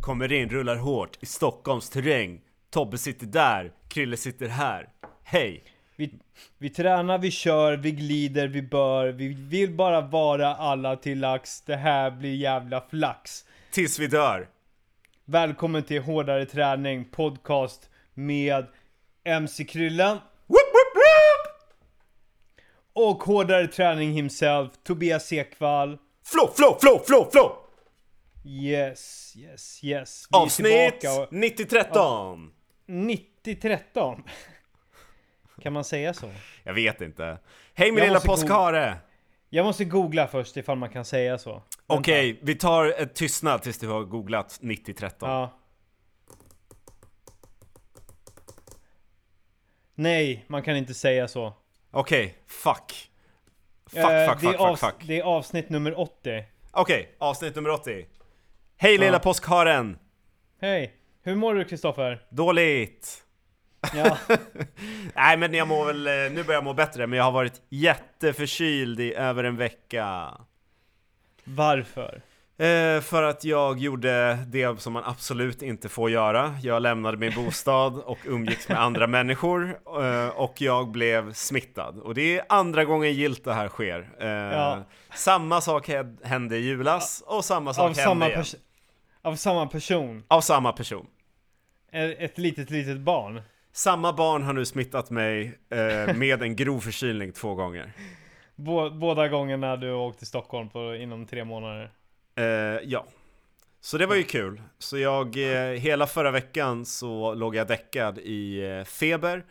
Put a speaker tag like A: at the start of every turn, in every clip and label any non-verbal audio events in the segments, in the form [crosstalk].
A: Kommer in, rullar hårt i Stockholms terräng. Tobbe sitter där, Krille sitter här. Hej!
B: Vi, vi tränar, vi kör, vi glider, vi bör. Vi vill bara vara alla till lax. Det här blir jävla flax.
A: Tills vi dör.
B: Välkommen till Hårdare Träning Podcast med MC Kryllen
A: Woop, woop, woop!
B: och Hårdare Träning himself, Tobias Ekvall.
A: Flå, flå, flå, flå, flå!
B: Yes, yes, yes. Vi är
A: Avsnitt
B: tillbaka och-
A: 90-13!
B: 90-13. Kan man säga så?
A: Jag vet inte. Hej min
B: Jag
A: lilla
B: måste gå-
A: påskhare!
B: Jag måste googla först ifall man kan säga så.
A: Okej, vi tar ett tystnad tills du har googlat 90-13.
B: Ja. Nej, man kan inte säga så.
A: Okej, fuck. Fuck,
B: Eh,
A: fuck,
B: det, är
A: fuck, fuck,
B: avs-
A: fuck.
B: det är avsnitt nummer 80.
A: Okej, avsnitt nummer 80. Hej lilla påskharen!
B: Hej! Hur mår du
A: [laughs]
B: Kristoffer?
A: Dåligt!
B: Ja,
A: Nej men jag mår väl, eh, nu börjar jag må bättre, men jag har varit jätteförkyld i över en vecka.
B: varför?
A: Eh, för att jag gjorde det som man absolut inte får göra. Jag lämnade min bostad och umgicks med andra människor eh, och jag blev smittad. Och det är andra gången gillt det här sker. Eh,
B: Ja.
A: Samma sak hed- hände i julas och samma sak
B: Av
A: hände
B: samma,
A: igen.
B: pers- av samma person?
A: Av samma person.
B: E- Ett litet, litet barn?
A: Samma barn har nu smittat mig eh, med en grov förkylning två gånger.
B: Bå- båda gångerna du åkte till Stockholm på, inom tre månader?
A: Eh, ja. Så det var ju kul. Så jag, eh, hela förra veckan så låg jag däckad i eh, feber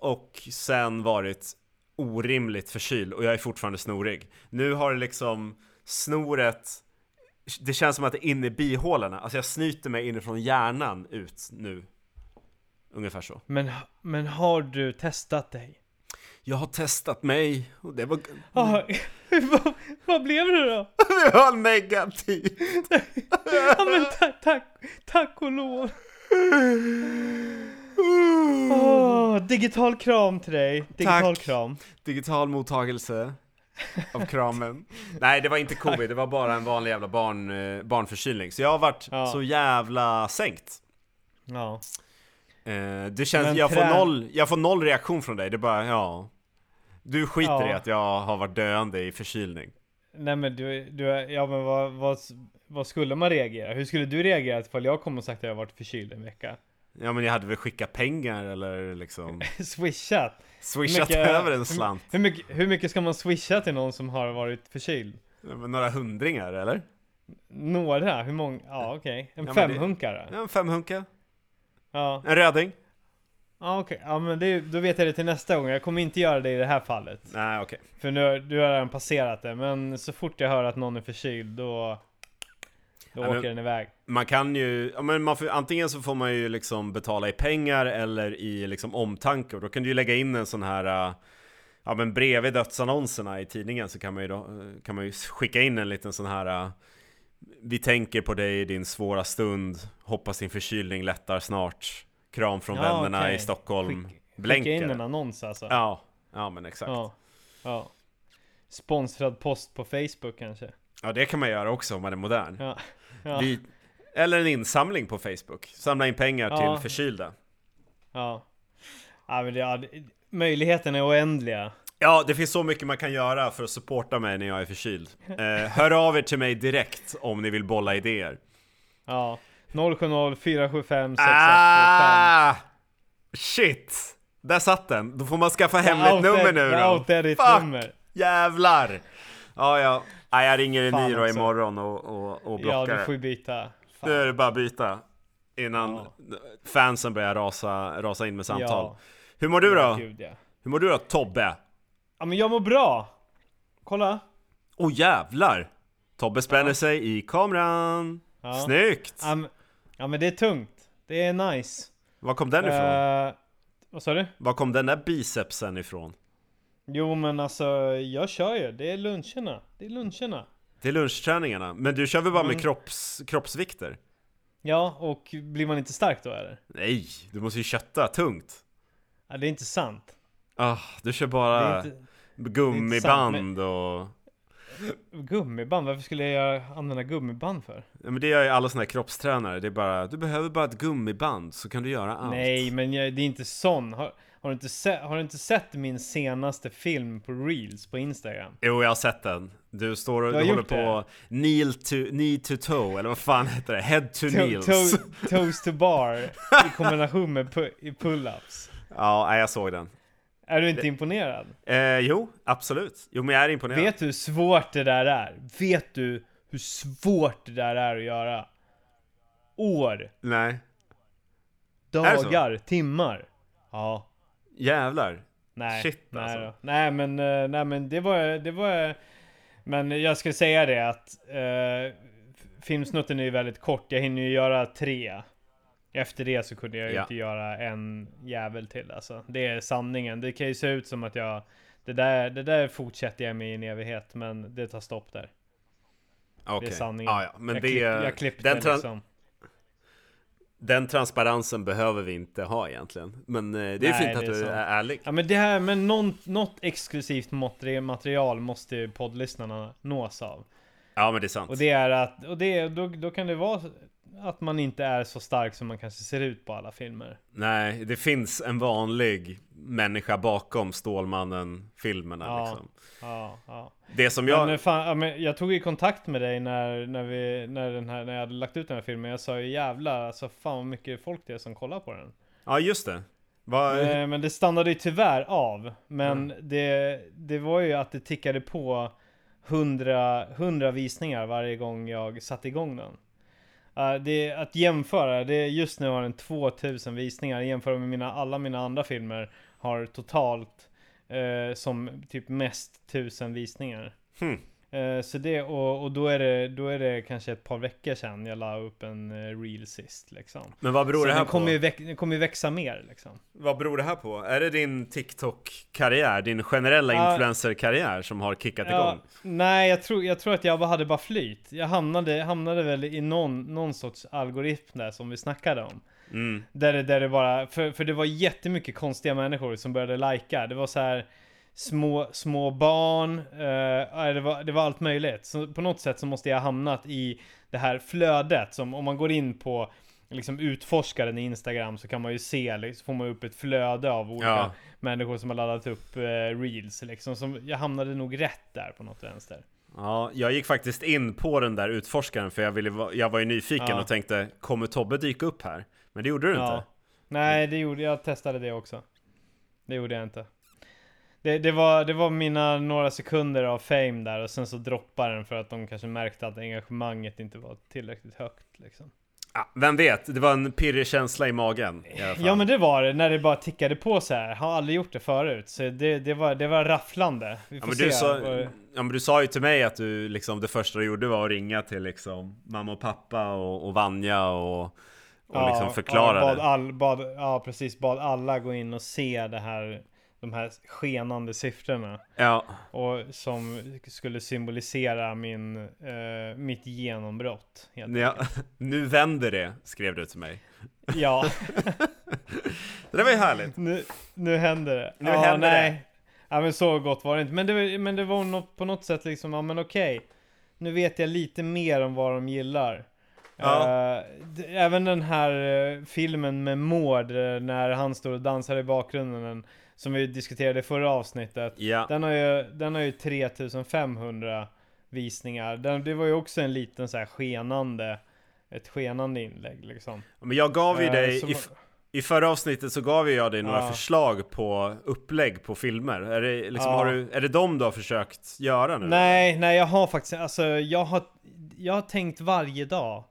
A: och sen varit orimligt förkyld och jag är fortfarande snorig. Nu har det liksom snoret, det känns som att det är inne i bihålorna. Alltså jag snyter mig inifrån hjärnan ut nu. Ungefär så.
B: Men, men har du testat dig?
A: Jag har testat mig och det var...
B: Ah, [laughs] vad, vad blev det då?
A: [laughs] Det var negativt!
B: Ja men ta, tack, tack och lov! Åh, digital kram till dig! Digital
A: Tack.
B: kram!
A: Digital mottagelse
B: [laughs]
A: av kramen. Nej, det var inte covid, det var bara en vanlig jävla barn, eh, barnförkylning. Så jag har varit
B: Ja.
A: så jävla sänkt.
B: Ja.
A: Eh, Det känns,
B: Men
A: jag får,
B: trä-
A: noll, jag får noll reaktion från dig, det är bara ja. Du skiter
B: Ja.
A: i att jag har varit döende i förkylning.
B: Nej men du, du ja men vad, vad, vad skulle man reagera? Hur skulle du reagera ifall jag kom och sagt att jag varit förkyld en vecka? [laughs]
A: Ja men jag hade väl skickat pengar eller liksom
B: Swishat!
A: swishat
B: Mycket-
A: över en slant.
B: Hur mycket, hur mycket ska man swisha till någon som har varit förkyld?
A: Ja, men Några hundringar eller?
B: Några? Hur många? Ja okej. En
A: Ja, men det-
B: femhunkare?
A: Ja, En femhunka?
B: Ja.
A: En röding?
B: Ja okej. Ja men det, då vet jag det till nästa gång. Jag kommer inte göra det i det här fallet.
A: Nej okej.
B: För nu, har- du har redan passerat det, men så fort jag hör att någon är förkyld då... Då
A: Ja, men-
B: åker den iväg.
A: Man kan ju, ja, men man får, antingen så får man ju liksom betala i pengar eller i liksom omtanke och då kan du ju lägga in en sån här äh, Ja men bredvid dödsannonserna i tidningen så kan man ju, då, eh, kan man ju skicka in en liten sån här äh, Vi tänker på dig i din svåra stund Hoppas din förkylning lättar snart Kram från
B: Ja,
A: vännerna
B: okej.
A: i Stockholm
B: Skick- Skicka in en
A: Blänkare
B: annons alltså.
A: Ja, ja men exakt ja.
B: ja. ja. Sponsrad post på Facebook kanske?
A: det kan man göra också om man är modern
B: Ja. Ja.
A: Vi, Eller en insamling på Facebook Samla in pengar
B: Ja.
A: till förkylda
B: ja. ja, men det, ja det, möjligheterna är oändliga.
A: Ja, det finns så mycket man kan göra för att supporta mig när jag är förkyld. Eh, hör av er till mig direkt om ni vill bolla idéer.
B: Ja. 070 475 6125.
A: Ah! Shit! Där satt den. Då får man skaffa hemligt nummer nu
B: Jag
A: då.
B: outade ditt
A: Fuck!
B: nummer.
A: Jävlar! Ja, ja. Nej, jag ringer i
B: Fan
A: Niro
B: också.
A: imorgon och, och, och
B: Ja,
A: blockar
B: du
A: det.
B: får ju byta. Fan.
A: Nu är det bara att byta. Innan
B: Ja.
A: fansen börjar rasa, rasa in med samtal.
B: Ja.
A: Hur mår du då?
B: Gud, ja.
A: Hur mår du då Tobbe?
B: ja, men jag mår bra. Kolla.
A: Åh jävlar! Tobbe spänner sig i kameran.
B: Ja.
A: Snyggt!
B: Ja, men- ja men det är tungt. Det är nice.
A: Var kom den ifrån?
B: Eh, vad sa du?
A: Var kom den där bicepsen ifrån?
B: Jo men alltså jag kör ju. Det är luncherna. Det är luncherna.
A: Det är lunchträningarna. Men du kör väl bara med
B: Mm.
A: kropps, kroppsvikter?
B: Ja och blir man inte stark då eller?
A: Nej, du måste ju kötta tungt.
B: Ja, det är inte sant.
A: Ah, du kör
B: Det
A: bara
B: är inte...
A: gummiband
B: sant,
A: och...
B: Gummiband? Varför skulle jag använda gummiband för?
A: Ja, men det gör ju alla såna här kroppstränare. Det är bara, du behöver bara ett gummiband så kan du göra allt.
B: Nej, men jag, det är inte sån. Har, har, du inte se, har du inte sett min senaste film på Reels på Instagram?
A: Jo, jag har sett den. Du står och
B: Du har
A: du håller
B: gjort
A: på kneel to, knee to toe, eller vad fan heter det? Head to
B: To,
A: kneels.
B: to, toast to bar i kombination med pu- i pull-ups.
A: [laughs] Ja, nej, jag såg den.
B: Är du inte imponerad?
A: Eh, jo, absolut. Jo, men jag är imponerad.
B: Vet du hur svårt det där är? Vet du hur svårt det där är att göra? År,
A: Nej. så?
B: dagar, timmar. Ja.
A: Jävlar.
B: Nej,
A: Shit,
B: nej,
A: alltså.
B: då. nej men, eh, nej men det var, det var Men jag ska säga det att eh, Filmsnutten är ju väldigt kort, jag hinner ju göra tre Efter det så kunde jag ju
A: Ja.
B: inte göra en jävel till alltså Det är sanningen, det kan ju se ut som att jag Det där, det där fortsätter jag med i en evighet men det tar stopp där
A: Okej. Ah,
B: Det är sanningen
A: Ja, ja. Men
B: jag,
A: det,
B: klipp, jag klippte
A: den, tran-
B: liksom
A: den transparensen behöver vi inte ha egentligen. Men eh, det är
B: Nej,
A: fint
B: det
A: att
B: är
A: du
B: sant.
A: är ärlig.
B: Ja men det här med någon, något exklusivt materi- material måste ju poddlyssnarna nås av
A: Ja, men det är sant.
B: Och det är att, och det, då, då kan det vara att man inte är så stark som man kanske ser ut på alla filmer.
A: Nej, det finns en vanlig människa bakom Stålmannen-filmerna
B: Ja.
A: liksom.
B: Ja, ja.
A: Det som
B: Jag,
A: jag...
B: men, eh, fan, ja, men jag tog ju kontakt med dig när, när, vi, när, den här, när jag hade lagt ut den här filmen. Jag sa ju jävlar alltså fan vad mycket folk det är som kollar på den.
A: Ja, just det. Vad...
B: Eh, Men det stannade ju tyvärr av. Men det, det var ju att det tickade på hundra, hundra visningar varje gång jag satte igång den. Eh, det, att jämföra, det, just nu har den 2000 visningar. Jämfört med mina, alla mina andra filmer har totalt eh, som typ mest 1000 visningar.
A: Hmm.
B: Eh, så det, och, och då, är det, då är det kanske ett par veckor sedan jag la upp en eh, reel sist liksom.
A: Men vad beror
B: Så
A: det här
B: den
A: på?
B: kommer ju, väx, den kommer ju växa mer liksom.
A: Vad beror det här på? Är det din TikTok-karriär, din generella
B: Ja.
A: influencer-karriär som har kickat igång?
B: nej, jag tror, jag tror att jag bara hade bara flyt. Jag hamnade, hamnade väl i någon, någon sorts algoritm där som vi snackade om.
A: Mm.
B: Där det, där det bara, för, för det var jättemycket konstiga människor som började lajka. Det var så här små, små barn, eh, ja, det, var, det var allt möjligt. Så på något sätt så måste jag ha hamnat i det här flödet som om man går in på liksom utforskaren i Instagram så kan man ju se, liksom, får man upp ett flöde av olika
A: Ja.
B: människor som har laddat upp eh, reels liksom. Så jag hamnade nog rätt där på något vänster.
A: Ja, jag gick faktiskt in på den där utforskaren för jag, ville, va- jag var ju nyfiken
B: Ja.
A: och tänkte Kommer Tobbe dyka upp här? Men det gjorde du inte.
B: Nej, det gjorde jag. testade det också. Det gjorde jag inte. Det, det, var, det var mina några sekunder av fame där och sen så droppade den för att de kanske märkte att engagemanget inte var tillräckligt högt liksom.
A: Ja, vem vet, det var en pirrig känsla i magen. I alla fall.
B: Ja men det var det, när det bara tickade på så här. Har aldrig gjort det förut. Så det, det, var, det var rafflande. Vi
A: Ja,
B: får
A: men,
B: se.
A: du sa,
B: vad-
A: ja, men du sa ju till mig att du liksom det första du gjorde var att ringa till liksom mamma och pappa och, och Vanja och, och liksom förklara
B: ja, bad
A: det.
B: all, bad, ja precis, bad alla gå in och se det här, de här skenande siffrorna.
A: Ja, [laughs]
B: Och som skulle symbolisera min, eh, mitt genombrott. Helt.
A: ja, nu vänder det, skrev du till mig.
B: Ja,
A: Det där var ju härligt.
B: nu, nu händer det.
A: Nu
B: ja,
A: händer
B: nej. Ja men så gott var det inte. Men det, var- men det var något, på något sätt liksom, ja men okej. Nu vet jag lite mer om vad de gillar.
A: Ja.
B: Eh, d- även den här eh, filmen med Mård, eh, när han står och dansar i bakgrunden, den, som vi diskuterade i förra avsnittet.
A: Ja,
B: Den har ju, den har ju 3500 visningar. Den, det var ju också en liten så här skenande, ett skenande inlägg liksom.
A: men jag gav ju
B: Eh,
A: dig,
B: som-
A: i, f- i förra avsnittet så gav ju jag dig några
B: Ja.
A: förslag på upplägg på filmer. Är det, liksom,
B: Ja.
A: har du, är det de du har försökt göra nu?
B: Nej, nej jag har faktiskt, alltså jag har, jag har tänkt varje dag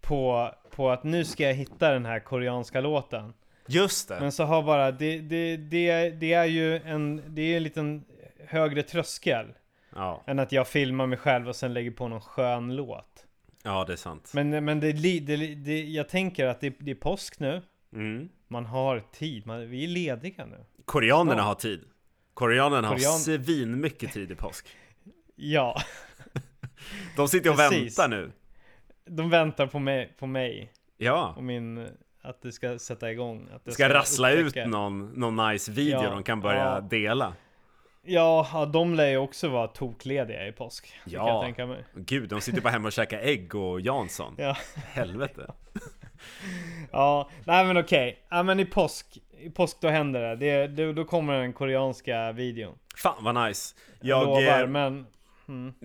B: på, på att nu ska jag hitta den här koreanska låten.
A: Just det.
B: Men så har bara, det, det, det, det är ju en, det är ju en liten högre tröskel
A: Ja.
B: än att jag filmar mig själv och sen lägger på någon skön låt.
A: ja, det är sant.
B: Men, men det, li- det, li- det, jag tänker att det, det är påsk nu.
A: Mm.
B: Man har tid, man, vi är lediga nu.
A: Koreanerna
B: Ja.
A: har tid. Koreanerna har
B: Korean-
A: svinmycket mycket tid i påsk.
B: Ja, [laughs]
A: De sitter och
B: Precis.
A: väntar nu.
B: de väntar på mig, på mig
A: Ja.
B: och min, att det ska sätta igång. Att det
A: Ska rassla ut
B: upptäcka.
A: någon, någon nice video
B: Ja,
A: de kan börja
B: ja.
A: dela.
B: Ja, ja, de lär ju också vara toklediga i påsk. Det kan jag
A: Ja.
B: tänka mig.
A: Gud, de sitter bara hemma och käkar ägg och Jansson.
B: [laughs] Ja.
A: Helvete.
B: Ja, nej men okej. Ja men i påsk, i påsk då händer det. det, det då kommer den koreanska videon.
A: Fan vad nice.
B: Jag
A: Jag,
B: lovar,
A: eh,
B: men...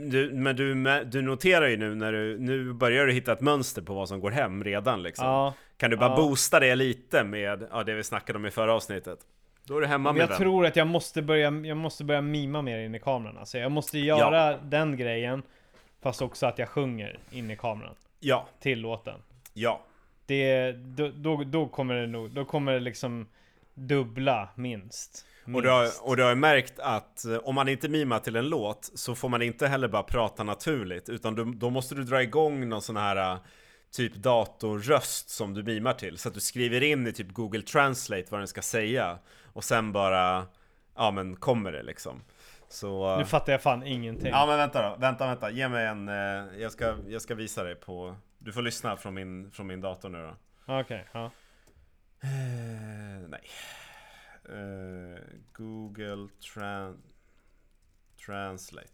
A: du, men du, mä- du noterar ju nu när du, nu börjar du hitta ett mönster på vad som går hem redan liksom.
B: Ja,
A: Kan du bara
B: ja.
A: boosta det lite med ja, det vi snackade om i förra avsnittet? Då är du hemma
B: men
A: med
B: jag
A: den.
B: tror att jag måste börja, jag måste börja mima mer in i kameran. Alltså jag måste göra den grejen. Fast också att jag sjunger in i kameran.
A: Ja,
B: Till låten.
A: ja.
B: Det, då, då, då kommer det nog, då kommer det liksom dubbla minst. minst.
A: Och du, har, och du har ju märkt att eh, om man inte mimar till en låt så får man inte heller bara prata naturligt utan du, då måste du dra igång någon sån här eh, typ datorröst som du mimar till så att du skriver in i typ Google Translate vad den ska säga och sen bara ja men kommer det liksom. Så
B: Nu fattar jag fan ingenting.
A: ja men vänta då, vänta vänta, ge mig en, eh, jag ska, jag ska visa dig på, du får lyssna från min, från min dator nu då.
B: Okej, ja.
A: Eh, nej. Eh, Google Tran- Translate.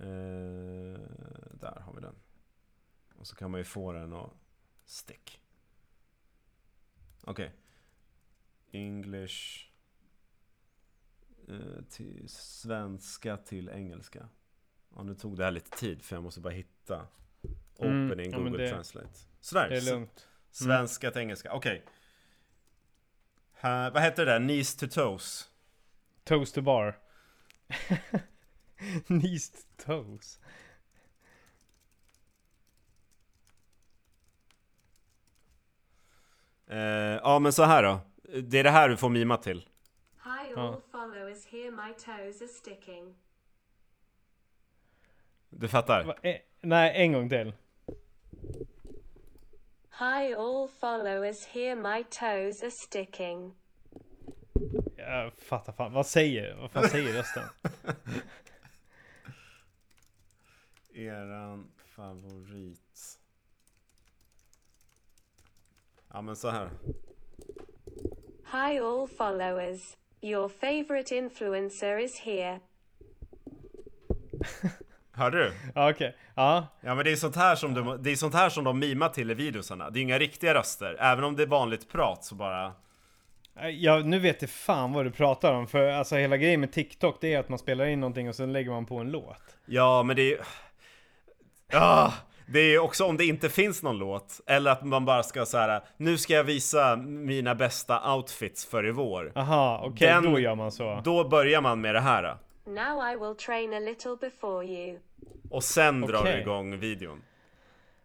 A: Eh, där har vi den. Och så kan man ju få den och stick. Okej. English. eh, till svenska till engelska. Ja, nu tog det här lite tid för jag måste bara hitta. Open
B: Mm,
A: in
B: ja, men
A: Google
B: det-
A: Translate. Sådär.
B: Det är
A: så-
B: lugnt.
A: Svenska till engelska, okej. Här- Vad heter det där? Knees to toes?
B: Toast to bar. [laughs] Knees to toes.
A: Eh, ja men så här då. Det är det här du får mima till.
C: Hi
B: Oh.
C: all followers here my toes are sticking.
A: Du fattar?
B: Va, eh, nej, en gång till.
C: Hi all followers here my toes are sticking.
B: Jag fattar fan. Vad säger, vad fan säger rösten?
A: [laughs] Eran favorit. Ja men så här.
C: Hi all followers. Your favorite influencer is here.
A: Hörde du?
B: Ja, okej. Ja,
A: Ja men det är sånt här som, de, det är sånt här som de mimar till i videosarna. Det är inga riktiga röster. Även om det är vanligt prat så bara...
B: ja, nu vet jag fan vad du pratar om. För alltså hela grejen med TikTok det är att man spelar in någonting och sen lägger man på en låt.
A: Ja, men det är ju... Ah, det är ju också om det inte finns någon låt, eller att man bara ska så här. nu ska jag visa mina bästa outfits för i vår.
B: Aha, okej
A: Den-
B: då gör man så.
A: Då börjar man med det här.
C: Now I will train a little before you.
A: Och sen drar
B: Okej.
A: du igång videon.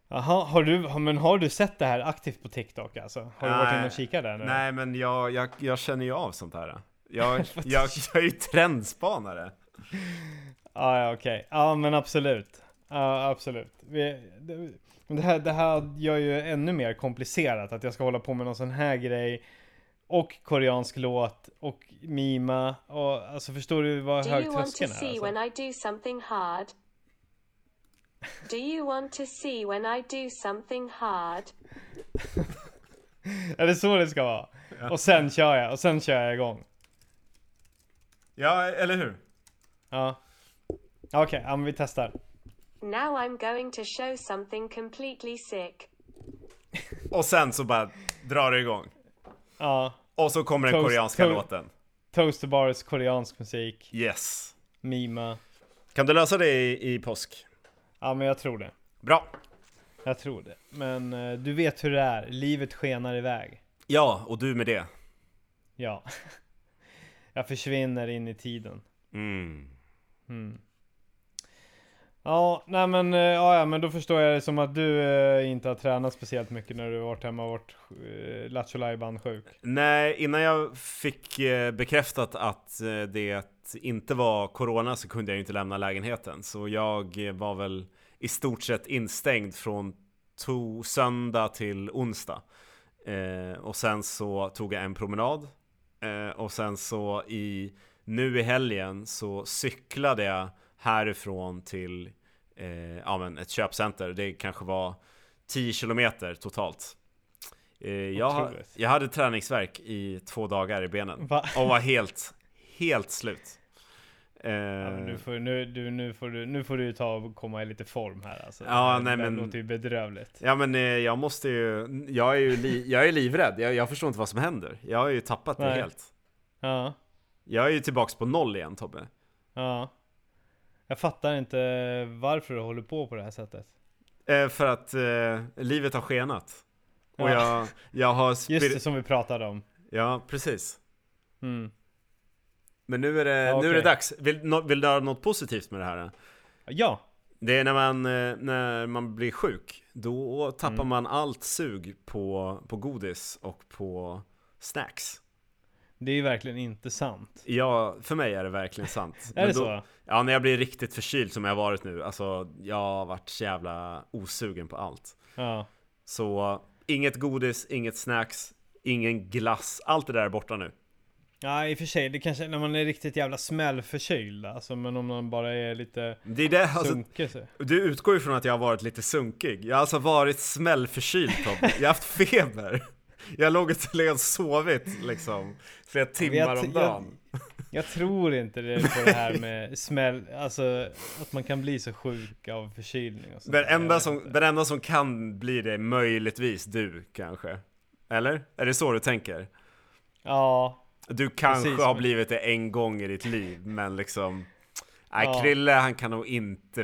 B: Aha, har du, har- men har du sett det här aktivt på TikTok alltså? Har du varit inne och kikat där nu?
A: Nej, men jag, jag, jag känner ju av sånt här.
B: [laughs]
A: Jag, jag, jag är ju trendspanare.
B: Ja, Ah, ja okej. Ja, men absolut. Ja, absolut. Vi, det, men det, här, det här gör ju ännu mer komplicerat att jag ska hålla på med någon sån här grej och koreansk låt och mima och alltså förstår du vad
C: Do
B: hög
C: you want to
B: tröskeln är?
C: see
B: Alltså?
C: when I do something hard? Do you want to see when I do something hard?
B: Är det så det ska vara? Och sen kör jag och sen kör jag igång.
A: Ja, eller hur?
B: Ja. Okej, ja, men vi testar.
C: Now I'm going to show something completely sick.
A: Och sen så bara drar du igång.
B: Ja,
A: Och så kommer den
B: Toast-
A: koreanska
B: toast-
A: låten.
B: Toaster Bars, koreansk musik,
A: Yes.
B: mima.
A: Kan du lösa det i, i påsk?
B: Ja, men jag tror det.
A: Bra.
B: Jag tror det. Men eh, du vet hur det är. Livet skenar iväg.
A: Ja, och du med det.
B: Ja. [laughs] Jag försvinner in i tiden.
A: Mm.
B: Ja, nej men, eh, ja, ja, men då förstår jag det som att du eh, inte har tränat speciellt mycket när du har varit hemma och varit eh, lattjo lajban sjuk.
A: Nej, innan jag fick eh, bekräftat att eh, det inte var corona så kunde jag ju inte lämna lägenheten. Så jag eh, var väl i stort sett instängd från to- söndag till onsdag. Eh, och sen så tog jag en promenad. Eh, och sen så i, nu i helgen så cyklade jag härifrån till eh, ja, men ett köpcenter. Det kanske var 10 kilometer totalt. Eh, jag,
B: Otroligt.
A: jag hade träningsverk i två dagar i benen.
B: Va?
A: Och var helt, helt slut. Eh,
B: Ja, men nu, får, nu, du, nu, får du, nu får du ta och komma i lite form här alltså.
A: Ja,
B: Det här-
A: nej,
B: det här
A: men-
B: låter ju bedrövligt.
A: Ja men eh, jag måste ju, jag är ju li, jag är livrädd, jag, jag förstår inte vad som händer. Jag har ju tappat det
B: Nej.
A: helt.
B: Ja,
A: Jag är ju tillbaks på noll igen Tobbe.
B: ja. Jag fattar inte varför du håller på på det här sättet.
A: Eh, för att eh, livet har skenat. Och
B: Ja.
A: jag, jag har spir-
B: Just det, som vi pratade om.
A: Ja, precis.
B: Mm.
A: Men nu är det,
B: Ja,
A: nu är det
B: okej.
A: dags. Vill, nå- vill du ha något positivt med det här?
B: Ja,
A: Det är när man, eh, när man blir sjuk, då tappar
B: Mm.
A: man allt sug på, på godis och på snacks.
B: det är ju verkligen inte sant.
A: Ja, för mig är det verkligen sant.
B: [laughs] Är
A: Men
B: det
A: då-
B: så?
A: Ja, när jag blir riktigt förkyld som jag har varit nu, alltså jag har varit så jävla osugen på allt.
B: Ja.
A: Så inget godis, inget snacks, ingen glass, allt det där är borta nu.
B: Ja, i och för sig, det kanske när man är riktigt jävla smällförkyld alltså, men om man bara är lite
A: Det är det, alltså,
B: sunkig så.
A: du utgår ju från att jag har varit lite sunkig. Jag har alltså varit smällförkyld Tobbe, jag har haft feber. Jag låg och till och sovit liksom flera timmar om dagen.
B: Jag tror inte det på det här med smäll, alltså att man kan bli så sjuk av förkylning och sånt
A: Den
B: där. Jag
A: enda,
B: vet
A: som,
B: inte.
A: den enda som kan bli det är möjligtvis du kanske. Eller? Är det så du tänker?
B: Ja,
A: Du kanske
B: Precis,
A: har
B: men-
A: blivit det en gång i ditt liv, men liksom... Nej,
B: Ja.
A: Krille han kan nog inte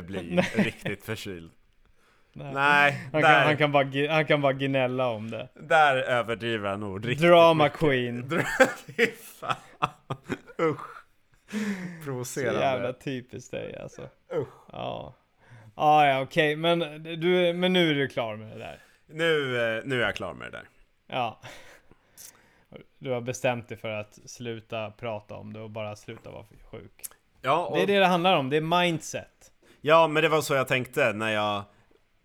B: [laughs]
A: bli riktigt förkyld.
B: nej.
A: Nej,
B: Han, kan,
A: där,
B: han, kan bara, gi- han kan bara gnälla om det.
A: där överdriver han nog riktigt.
B: Drama
A: [laughs]
B: queen.
A: Dra- Fy fan. Usch.
B: Så
A: Provocerande.
B: jävla typiskt dig alltså.
A: Usch.
B: Ja. Ah, ja, okej, men, du, men nu är du klar med det där.
A: Nu, eh, nu är jag klar med det där.
B: Ja. [laughs] Du har bestämt dig för att sluta prata om det och bara sluta vara sjuk.
A: Ja, och,
B: Det är det det handlar om, det är mindset.
A: ja, men det var så jag tänkte när jag,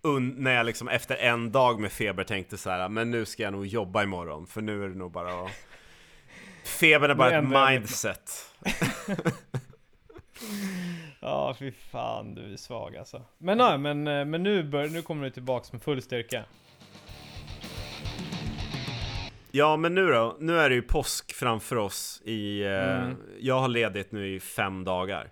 A: un, när jag liksom efter en dag med feber tänkte så här, men nu ska jag nog jobba imorgon, för nu är det nog bara att... Febern är bara
B: ändrar jag
A: ett
B: mitt-
A: mindset.
B: Ja, fy fan, du är svag alltså. Men nej, men, eh, men nu, bör, nu kommer du tillbaks med full styrka.
A: Ja men nu då, nu är det ju påsk framför oss i... eh,
B: Mm.
A: Jag har ledigt nu i fem dagar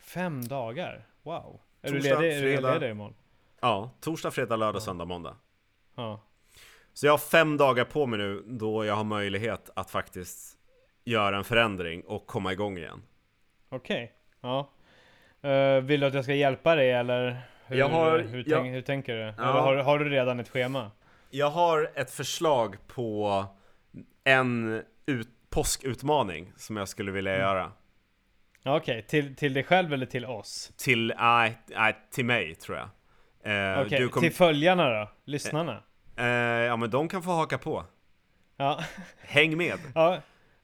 B: Fem dagar? Wow. Är du
A: Torsdag,
B: ledig, är du
A: fredag.
B: ledig imorgon?
A: Ja, torsdag, fredag, lördag, söndag, måndag
B: Ja.
A: Så jag har fem dagar på mig nu då jag har möjlighet att faktiskt göra en förändring och komma igång igen
B: Okej. Ja. Eh, vill du att jag ska hjälpa dig eller? Hur,
A: Jag har-
B: hur,
A: jag-
B: tänk, hur tänker du?
A: Ja.
B: Eller har, har du redan ett schema?
A: Jag har ett förslag på en ut, påskutmaning som jag skulle vilja
B: Mm.
A: göra
B: Ja, Okej, till, till dig själv eller till oss?
A: Till, nej, nej, till mig tror jag eh,
B: Okej,
A: du kom,
B: till följarna då? Lyssnarna?
A: eh, Ja men de kan få haka på
B: Ja,
A: Häng med!
B: ja,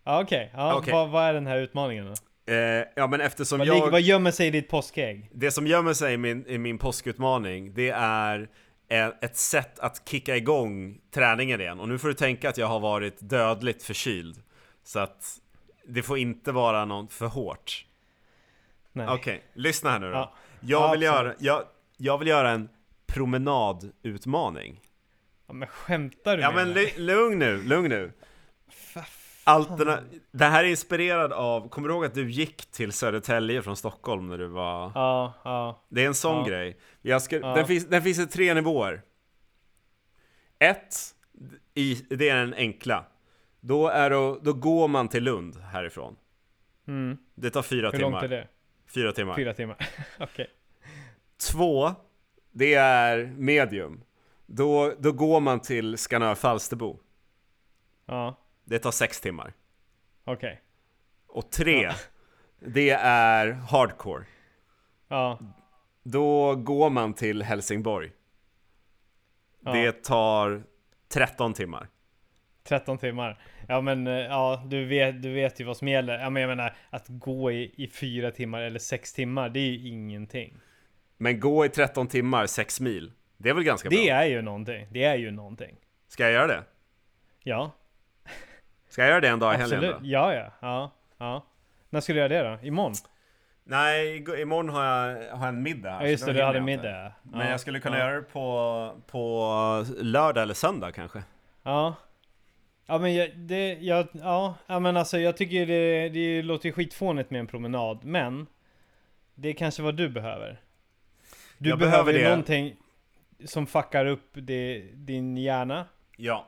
B: ja okej. Ja,
A: Okej.
B: Vad, vad är den här utmaningen då?
A: Eh, ja men eftersom
B: Vad,
A: jag...
B: ligger, vad gömmer sig i ditt påskägg?
A: Det som gömmer sig i min, i min påskutmaning, det är e- ett sätt att kicka igång träningen igen. Och nu får du tänka att jag har varit dödligt förkyld. Så att det får inte vara något för hårt.
B: Nej.
A: Okej, lyssna här nu då.
B: Ja.
A: Jag,
B: Ja,
A: vill
B: absolut.
A: göra, jag, jag vill göra en promenadutmaning.
B: Ja, men skämtar du
A: Ja
B: med
A: men
B: mig?
A: lu- lugn nu, lugn nu. Alterna det här är inspirerad av, kommer du ihåg att du gick till Södertälje från Stockholm när du var...
B: Ja, ja.
A: Det är en sån
B: Ja.
A: grej. Jag ska,
B: Ja.
A: den, finns, den finns i tre nivåer. Ett, i, det är den enkla. Då, är det, då går man till Lund härifrån.
B: Mm.
A: Det tar fyra
B: Hur
A: timmar.
B: långt är det?
A: Fyra timmar.
B: Fyra timmar. [laughs] Okej.
A: Två, det är medium. Då, då går man till Skanör Falsterbo.
B: Ja,
A: Det tar sex timmar.
B: okej.
A: Och tre, det är hardcore.
B: Ja,
A: Då går man till Helsingborg.
B: ja.
A: Det tar 13 timmar.
B: 13 timmar. Ja men eh, ja, du vet, du vet ju vad som gäller. Ja, men jag menar att gå i, i fyra timmar eller sex timmar, det är ju ingenting.
A: Men gå i 13 timmar, 6 mil. Det är väl ganska
B: Det
A: bra?
B: är ju någonting. Det är ju någonting.
A: Ska jag göra det?
B: Ja,
A: Ska jag göra det en dag i helgen
B: absolut.
A: då?
B: Ja, ja, ja, ja. När skulle jag göra det då? Imorgon?
A: Alltså, Nej, ig- imorgon har jag, har jag en middag.
B: Ja just
A: så då
B: det, du
A: hinner
B: hade
A: jag inte.
B: middag. ja.
A: Men
B: ja.
A: jag skulle kunna
B: ja.
A: göra det på, på lördag eller söndag kanske.
B: Ja. Ja men jag, det, jag, ja, ja men alltså jag tycker det, det låter ju skitfånigt med en promenad, men det är kanske vad du behöver. Du
A: Jag behöver
B: behöver, ju
A: det.
B: någonting som fuckar upp det, din hjärna,
A: Ja,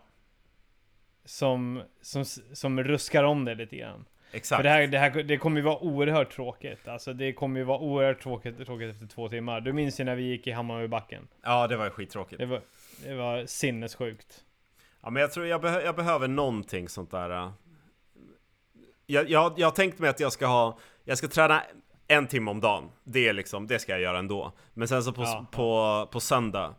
B: som, som, s- som ruskar om det lite grann.
A: exakt.
B: För det här, det här det kommer ju vara oerhört tråkigt, alltså det kommer ju vara oerhört tråkigt, tråkigt efter två timmar. Du minns ju när vi gick i Hammarbybacken.
A: Ja, det var ju skittråkigt.
B: Det var, det var sinnessjukt.
A: Ja, men jag tror jag, behö- jag behöver någonting sånt där. äh. Jag, jag, jag har tänkt mig att jag ska ha, jag ska träna en timme om dagen. Det är liksom, det ska jag göra ändå. Men sen så på,
B: Ja.
A: på, på söndag,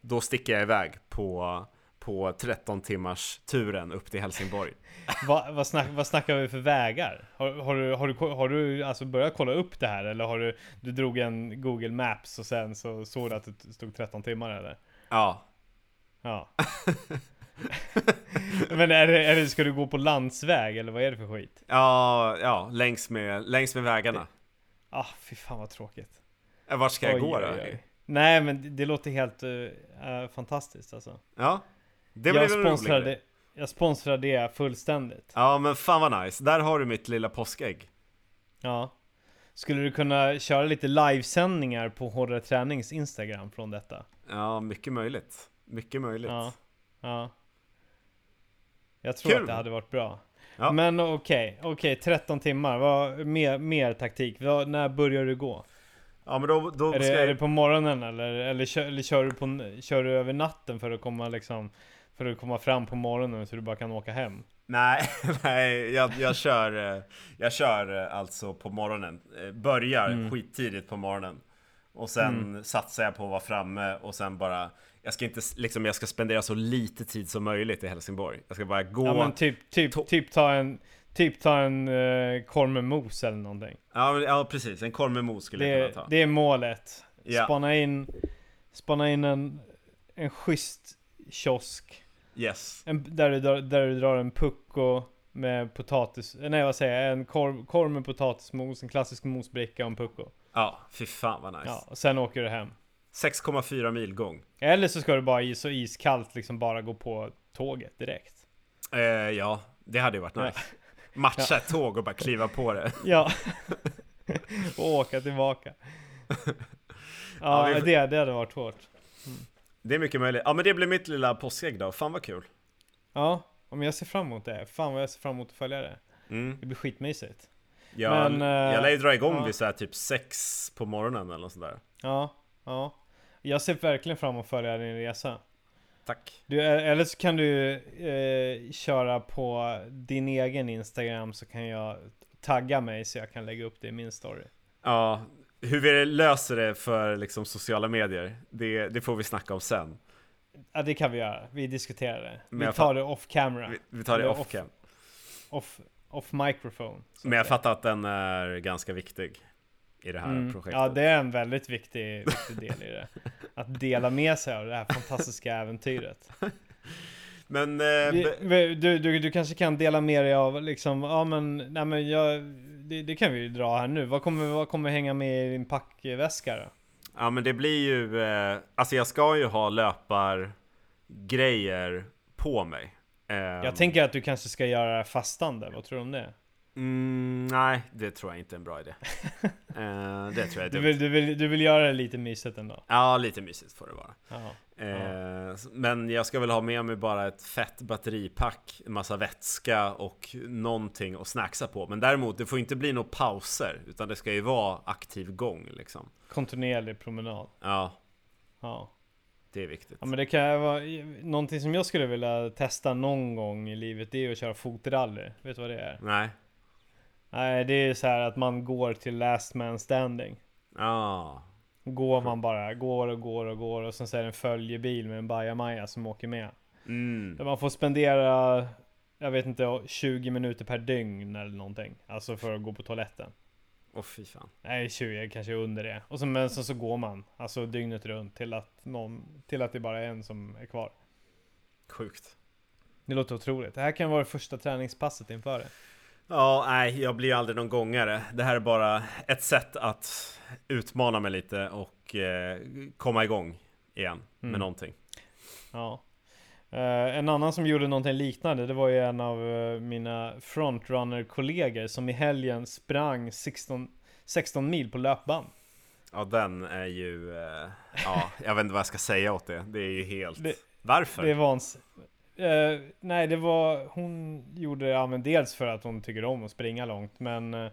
A: då sticker jag iväg på, på 13 timmars turen upp till Helsingborg.
B: [laughs] Va, vad, snack, vad snackar vi för vägar? Har, har, du, har, du, har du alltså börjat kolla upp det här eller har du, du drog en Google Maps och sen så såg du att det stod 13 timmar eller?
A: Ja, [laughs]
B: Ja. Men är det, är det, ska du gå på landsväg eller vad är det för skit?
A: ja, ja längs, med, längs med vägarna.
B: Ah, fy fan vad tråkigt.
A: Äh, Vart ska jag
B: Oj,
A: gå då?
B: oj, oj. Nej men det, det låter helt eh, eh, fantastiskt alltså.
A: Ja, det blir
B: jag,
A: väl en rolig
B: sponsrar
A: grej.
B: det, jag sponsrar det fullständigt.
A: Ja, men fan vad nice. Där har du mitt lilla påskägg.
B: Ja. Skulle du kunna köra lite livesändningar på Hårdare Tränings Instagram från detta?
A: Ja, mycket möjligt. Mycket möjligt.
B: Ja. ja. Jag tror
A: Kul.
B: att det hade varit bra.
A: Ja.
B: Men okej, okej, 13 timmar. Vad, mer, mer taktik. Vad, när börjar du gå?
A: Ja men då, då
B: Är
A: ska
B: det, är
A: jag...
B: det på morgonen eller, eller, kör, eller kör, du på, n- kör du över natten för att komma liksom för att komma fram på morgonen så du bara kan åka hem?
A: Nej, [laughs] nej jag, jag kör eh, Jag kör eh, alltså på morgonen Eh, Börjar
B: Mm.
A: skittidigt på morgonen Och sen satsar jag på att vara framme och sen bara Jag ska inte s- liksom, jag ska spendera så lite tid som möjligt i Helsingborg Jag ska bara gå
B: Ja men typ,
A: to-
B: typ, typ ta en, typ ta en eh, korv med mos eller någonting.
A: ja, men- ja, precis, en korv med mos skulle jag
B: Det,
A: kunna ta
B: det är målet.
A: Ja.
B: Spana in, spana in en, en schysst kiosk.
A: Yes
B: En, där, du, drar- där du drar en pucko med potatis, eh, nej vad säger jag, en korv, korv med potatismos, en klassisk mosbricka och en pucko.
A: Ja, fy fan vad nice
B: Ja, och sen åker du hem.
A: 6,4 mil gång
B: Eller så ska du bara i så iskallt liksom bara gå på tåget direkt.
A: eh, Ja, det hade ju
B: [laughs]
A: varit nice Matcha ett tåg och bara kliva på det
B: Ja. [laughs] och åka tillbaka. Ja,
A: Ja, vi-
B: det, det hade varit hårt.
A: Det är mycket möjligt Ja men det blir mitt lilla påskägg då, fan vad kul
B: Ja, men jag ser fram emot det. Fan vad jag ser fram emot att följa det.
A: mm.
B: Det blir skitmysigt.
A: Jag,
B: Men, eh,
A: jag lär ju dra igång
B: ja.
A: vid så här typ sex på morgonen eller något sånt där.
B: Ja, ja. Jag ser verkligen fram emot att följa din resa.
A: Tack.
B: Du, e- eller så kan du eh, köra på din egen Instagram så kan jag tagga mig så jag kan lägga upp det i min story.
A: Ja, hur vi löser det för liksom sociala medier, det, det får vi snacka om sen.
B: Ja, det kan vi göra. Vi diskuterar det.
A: Men
B: Vi
A: jag
B: tar det off camera.
A: Vi, vi tar det
B: Ja,
A: off
B: off-
A: cam.
B: Off, off microphone. så
A: Men jag
B: att
A: fattar att den är ganska viktig i det
B: säga.
A: här
B: Mm.
A: projektet.
B: Ja, det är en väldigt viktig, viktig del i det. Att dela med sig av det här fantastiska äventyret.
A: Men eh,
B: Vi,
A: be-
B: vi- du, du, du kanske kan dela med dig av liksom, ja men, nej men jag, det, det kan vi ju dra här nu. Vad kommer, vad kommer hänga med i din packväska då?
A: Ja men det blir ju, eh, alltså jag ska ju ha löpargrejer på mig. Eh,
B: Jag tänker att du kanske ska göra fastande, vad tror du om det?
A: Mm, nej, det tror jag inte är
B: [laughs]
A: en bra idé. eh, det tror jag
B: Du
A: är dumt.
B: vill, du vill, du vill göra det lite mysigt ändå?
A: Ja, lite mysigt får det vara.
B: Ja.
A: Eh, s- Men jag ska väl ha med mig bara ett fett batteripack, en massa vätska och någonting att snacksa på. Men däremot, det får inte bli några pauser, utan det ska ju vara aktiv gång liksom.
B: Kontinuerlig promenad.
A: Ja,
B: Ja.
A: det är viktigt.
B: ja, men det kan vara någonting som jag skulle vilja testa någon gång i livet. Det är att köra fotrally. Vet du vad det är?
A: Nej.
B: Nej, det är så här att man går till last man standing.
A: Ja.
B: Går man bara, går och går och går och sen så är det en följebil med en bajamaja som åker med.
A: Mm.
B: Där man får spendera, jag vet inte, 20 minuter per dygn eller någonting. Alltså för att gå på toaletten.
A: Åh fy fan.
B: Nej, 20 kanske är under det. Och så, men sen så går man, alltså dygnet runt, till att, någon, till att det bara är en som är kvar.
A: Sjukt.
B: Det låter otroligt. Det här kan vara det första träningspasset inför det.
A: Ja, nej, jag blir ju aldrig någon gångare. Det här är bara ett sätt att utmana mig lite och eh, komma igång igen med
B: Mm.
A: någonting.
B: Ja. Eh, Eh, en annan som gjorde någonting liknande, det var ju en av eh, mina frontrunner-kollegor som i helgen sprang 16, 16 mil på löpband.
A: Ja den är ju, eh, ja jag vet inte vad jag ska säga åt det. Det är ju helt...
B: Det-
A: Varför?
B: Det var en... s- Eh, nej, det var... Hon gjorde det ja, men dels för att hon tycker om att springa långt, men eh,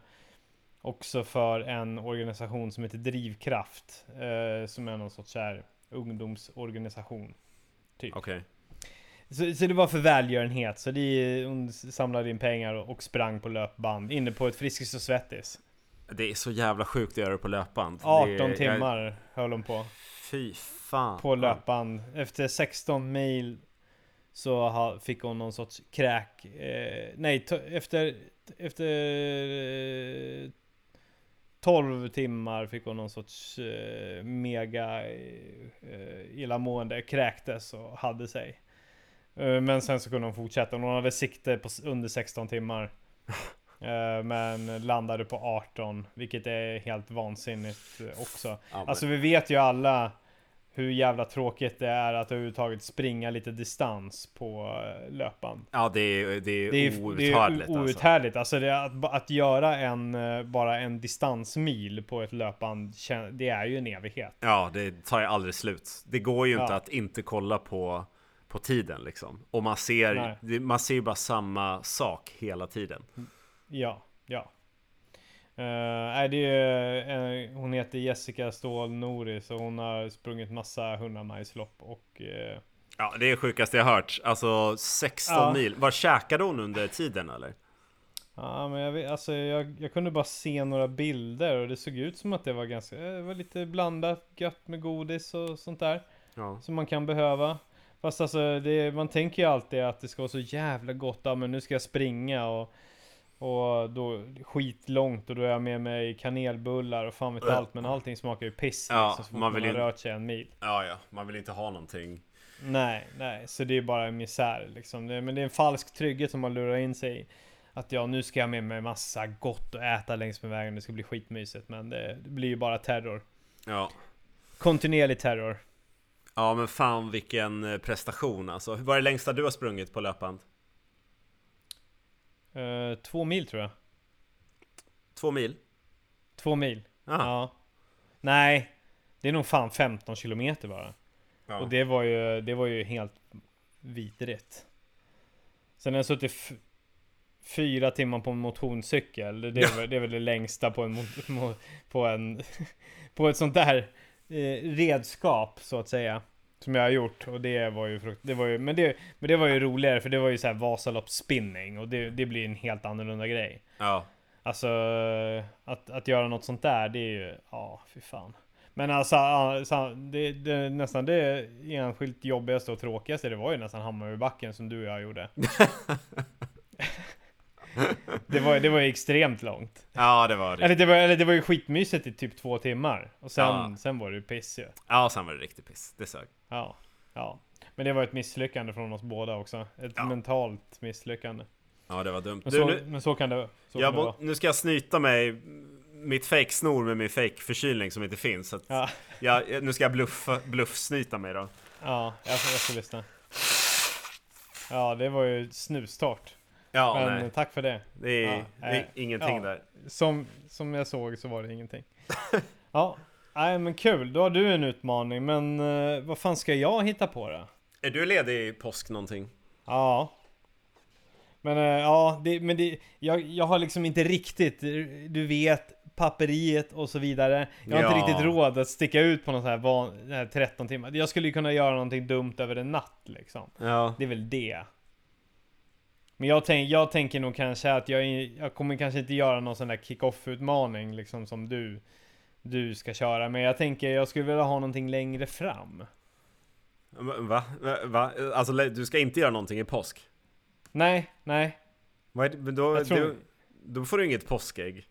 B: också för en organisation som heter Drivkraft, eh, som är någon sorts så här ungdomsorganisation.
A: Okej.
B: Så, så det var för välgörenhet, så det, hon s- samlade in pengar och, och sprang på löpband inne på ett Friskis och Svettis.
A: Det är så jävla sjukt att göra det på löpband.
B: 18
A: det är,
B: timmar höll hon på.
A: fy fan.
B: på löpband. Efter 16 mil så ha, fick hon någon sorts kräk. Eh, nej, to- efter, efter eh, 12 timmar fick hon någon sorts eh, mega eh, illamående, kräktes och hade sig. Eh, men sen så kunde hon fortsätta. Hon hade sikte på s- under 16 timmar. Eh, men landade på 18, vilket är helt vansinnigt eh, också.
A: Ja, men-
B: Alltså vi vet ju alla hur jävla tråkigt det är att överhuvudtaget springa lite distans på eh, löpband.
A: Ja det är, det är,
B: Det är, det är
A: outhärdligt
B: o-
A: alltså.
B: outhärdligt. Alltså det är att, ba- att göra en, eh, bara en distansmil på ett löpband, kän- det är ju en evighet.
A: Ja det tar ju aldrig slut. Det går ju inte
B: Ja.
A: att inte kolla på, på tiden liksom. Och man ser,
B: Nej. Mm.
A: det, man ser ju bara samma sak hela tiden.
B: Ja, ja. Eh, nej, det är, ju, eh, hon heter Jessica Ståhl Noris och hon har sprungit massa hundramajslopp och eh,
A: Ja det är det sjukaste jag hört. Alltså 16
B: Ja.
A: mil. Var käkade hon under tiden eller?
B: Ja men jag, vet, alltså, jag, jag kunde bara se några bilder och det såg ut som att det var ganska, eh, det var lite blandat gött med godis och sånt där
A: Ja.
B: som man kan behöva. Fast alltså det, man tänker ju alltid att det ska vara så jävla gott, ja men nu ska jag springa och, och då skitlångt och då är jag med mig kanelbullar och fan vet allt men allting smakar ju piss
A: Ja,
B: liksom, så fort
A: man
B: man,
A: vill
B: har
A: ju-
B: rört sig en mil.
A: ja ja, man vill inte ha någonting.
B: Nej, nej, så det är bara en misär liksom. Det, men det är en falsk trygghet som man lurar in sig i. Att ja, nu ska jag med mig massa gott att äta längs med vägen, det ska bli skitmysigt. Men det, det blir ju bara terror.
A: Ja.
B: Kontinuerlig terror.
A: Ja men fan vilken eh, prestation alltså. Vad är det längsta du har sprungit på löpband?
B: Eh, två mil tror jag.
A: Två mil?
B: Två mil.
A: Ah.
B: Ja. Nej, det är nog fan 15 kilometer bara.
A: Ja.
B: Och det var ju, det var ju helt vidrigt. Sen har jag suttit f- fyra timmar på en motionscykel. Det är, väl, det är väl det längsta på en, mot- mo- på en, [laughs] på ett sånt där eh, redskap så att säga. Som jag har gjort och det var ju, frukt, det var ju men, det, men det var ju roligare för det var ju så här Vasaloppsspinning och det, det blir en helt annorlunda grej.
A: ja.
B: Alltså att, att göra något sånt där det är ju, ja fy fan. Men alltså ja, så- det, det, nästan det enskilt jobbigaste och tråkigaste det var ju nästan Hammarbybacken som du och jag
A: [laughs]
B: gjorde. det, var, det var ju extremt långt.
A: Ja det var det.
B: Eller det var, eller det var ju skitmysigt i typ två timmar. Och sen,
A: Ja.
B: sen var det ju piss ju.
A: Ja sen var det riktigt piss. Det sög.
B: Ja, ja. Men det var ett misslyckande från oss båda också. Ett
A: Ja.
B: mentalt misslyckande.
A: Ja det var dumt.
B: Men,
A: Du,
B: så,
A: nu,
B: men så kan det, så
A: jag
B: kan det
A: må,
B: vara.
A: nu ska jag snyta mig mitt fake-snor med min fake-förkylning som inte finns. Så att
B: Ja,
A: jag, nu ska jag bluffa, bluffsnyta mig då.
B: ja jag, ska- jag ska lyssna. Ja, det var ju snustart.
A: Ja,
B: men
A: nej.
B: tack för det.
A: Det är,
B: ja,
A: det är
B: eh,
A: ingenting
B: ja.
A: där.
B: Som, som jag såg så var det ingenting. ja, nej men kul. Då har du en utmaning. Men eh, vad fan ska jag hitta på då?
A: Är du ledig i påsk någonting?
B: Ja. Men eh, ja, det, men det, jag, jag har liksom inte riktigt, du vet, papperiet och så vidare. Jag har
A: Ja.
B: inte riktigt råd att sticka ut på någon sån här, van, den här 13 timmar. Jag skulle ju kunna göra någonting dumt över en natt liksom.
A: Ja.
B: Det är väl det. Men jag, tänk, jag tänker nog kanske att jag, är- jag kommer kanske inte göra någon sån där kick-off utmaning liksom som du, du ska köra. Men jag tänker jag skulle vilja ha någonting längre fram.
A: Va? Va? Va? Alltså du ska inte göra någonting i påsk?
B: Nej, nej.
A: Vad är det- men då,
B: Jag tror-
A: du, då får du
B: [laughs]
A: inget påskägg.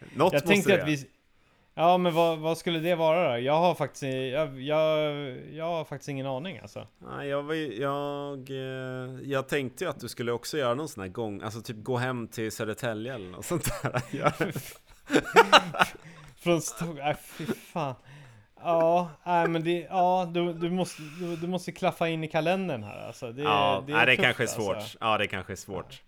A: Något
B: Jag
A: måste du
B: tänkte
A: göra.
B: att vi... Ja men vad, vad skulle det vara då? Jag har faktiskt, jag, jag, jag har faktiskt ingen aning alltså.
A: Nej, jag, var ju- jag, eh, jag tänkte ju att du skulle också göra någon sån här gång, alltså typ gå hem till Södertälje
B: [laughs]
A: eller [laughs] något sånt där. Ja.
B: Från Stockholm, äh, fy fan. Ja, nej, men det, ja du, du, måste, du, du måste klaffa in i kalendern här alltså. Det,
A: Ja,
B: det
A: det,
B: är
A: nej, det
B: tufft,
A: kanske är svårt.
B: Alltså.
A: Ja, det kanske är svårt.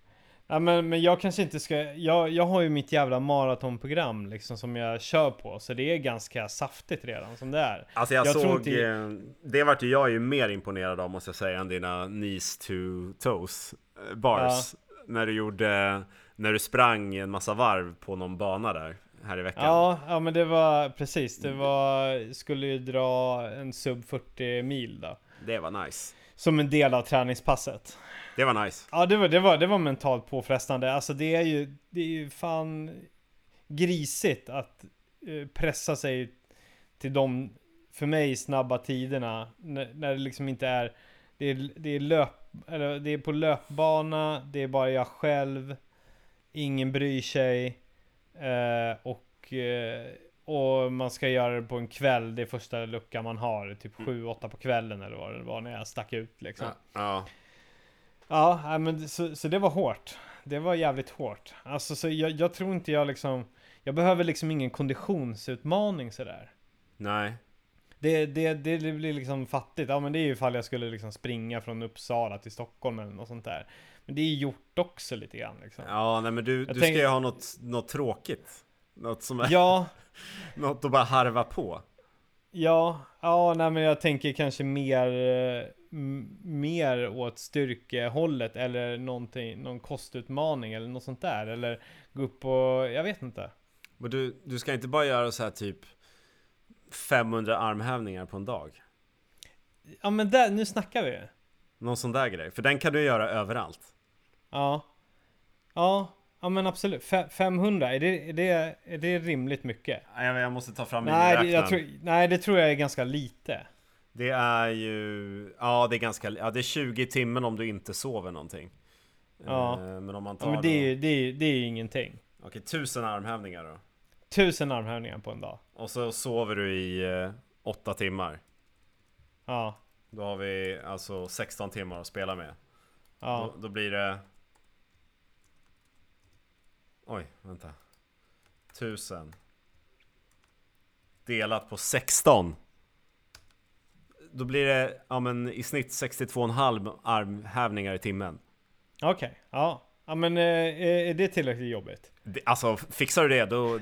B: Ja, men, men jag kanske inte ska, jag, jag har ju mitt jävla maratonprogram liksom som jag kör på. Så det är ganska saftigt redan som det är.
A: Alltså jag,
B: Jag tror
A: såg,
B: inte-
A: eh, det vart ju jag ju mer imponerad av måste jag säga än dina knees to toes eh, bars. När du gjorde, när du sprang en massa varv på någon bana där, här i veckan.
B: Ja, ja men det var precis, det var, skulle ju dra en sub 40 mil då.
A: Det var nice.
B: Som en del av träningspasset.
A: Det var nice.
B: Ja det var, det var, det var mentalt påfrestande. Alltså det är ju, det är ju fan grisigt att eh, pressa sig till de, för mig, snabba tiderna. När, när det liksom inte är, det är, det är löp, eller det är på löpbana, det är bara jag själv, ingen bryr sig. Eh, och, eh, och man ska göra det på en kväll, det är första luckan man har, typ 7-8 på kvällen eller vad det var när jag stack ut liksom.
A: Ja. ja.
B: Ja, nej, men det- så, så det var hårt. Det var jävligt hårt. Alltså, så jag, jag tror inte jag liksom... Jag behöver liksom ingen konditionsutmaning sådär.
A: Nej.
B: Det, det, det blir liksom fattigt. Ja, men det är ju ifall jag skulle liksom springa från Uppsala till Stockholm eller något sånt där. Men det är ju gjort också lite grann liksom.
A: Ja, nej men du, du
B: tänker-
A: ska ju ha något, något tråkigt. Något som är,
B: Ja,
A: [laughs] något att bara harva på.
B: ja, ja, nej, men jag tänker kanske mer, eh, m- mer åt styrkehållet eller någonting, någon kostutmaning eller något sånt där. Eller gå upp och, jag vet inte.
A: Men du, du ska inte bara göra så här typ 500 armhävningar på en dag.
B: Ja, men där, nu snackar vi.
A: Någon sån där grej. För den kan du göra överallt.
B: Ja. Ja, ja men absolut. Fe- 500, är det, är, det, är det rimligt mycket?
A: Nej, men Jag måste ta fram
B: Nej det,
A: miniräknaren.
B: jag tror, nej, det tror jag är ganska lite.
A: Det är ju, ja det är ganska, ja det är 20 timmen om du inte sover någonting.
B: Ja.
A: Eh, Men om man
B: Ja,
A: tar
B: men det, är, ju- det, är, ju- det är ju ingenting.
A: då, okej, tusen armhävningar då.
B: Tusen armhävningar på en dag.
A: Och så sover du i eh, åtta timmar.
B: Ja,
A: Då har vi alltså 16 timmar att spela med.
B: ja.
A: Då, då blir det... Oj, vänta. Tusen. Delat på 16. Då blir det, ja men i snitt 62,5 armhävningar i timmen.
B: Okej, ja. Ja men eh, är är det tillräckligt jobbigt?
A: Det, alltså fixar du det då,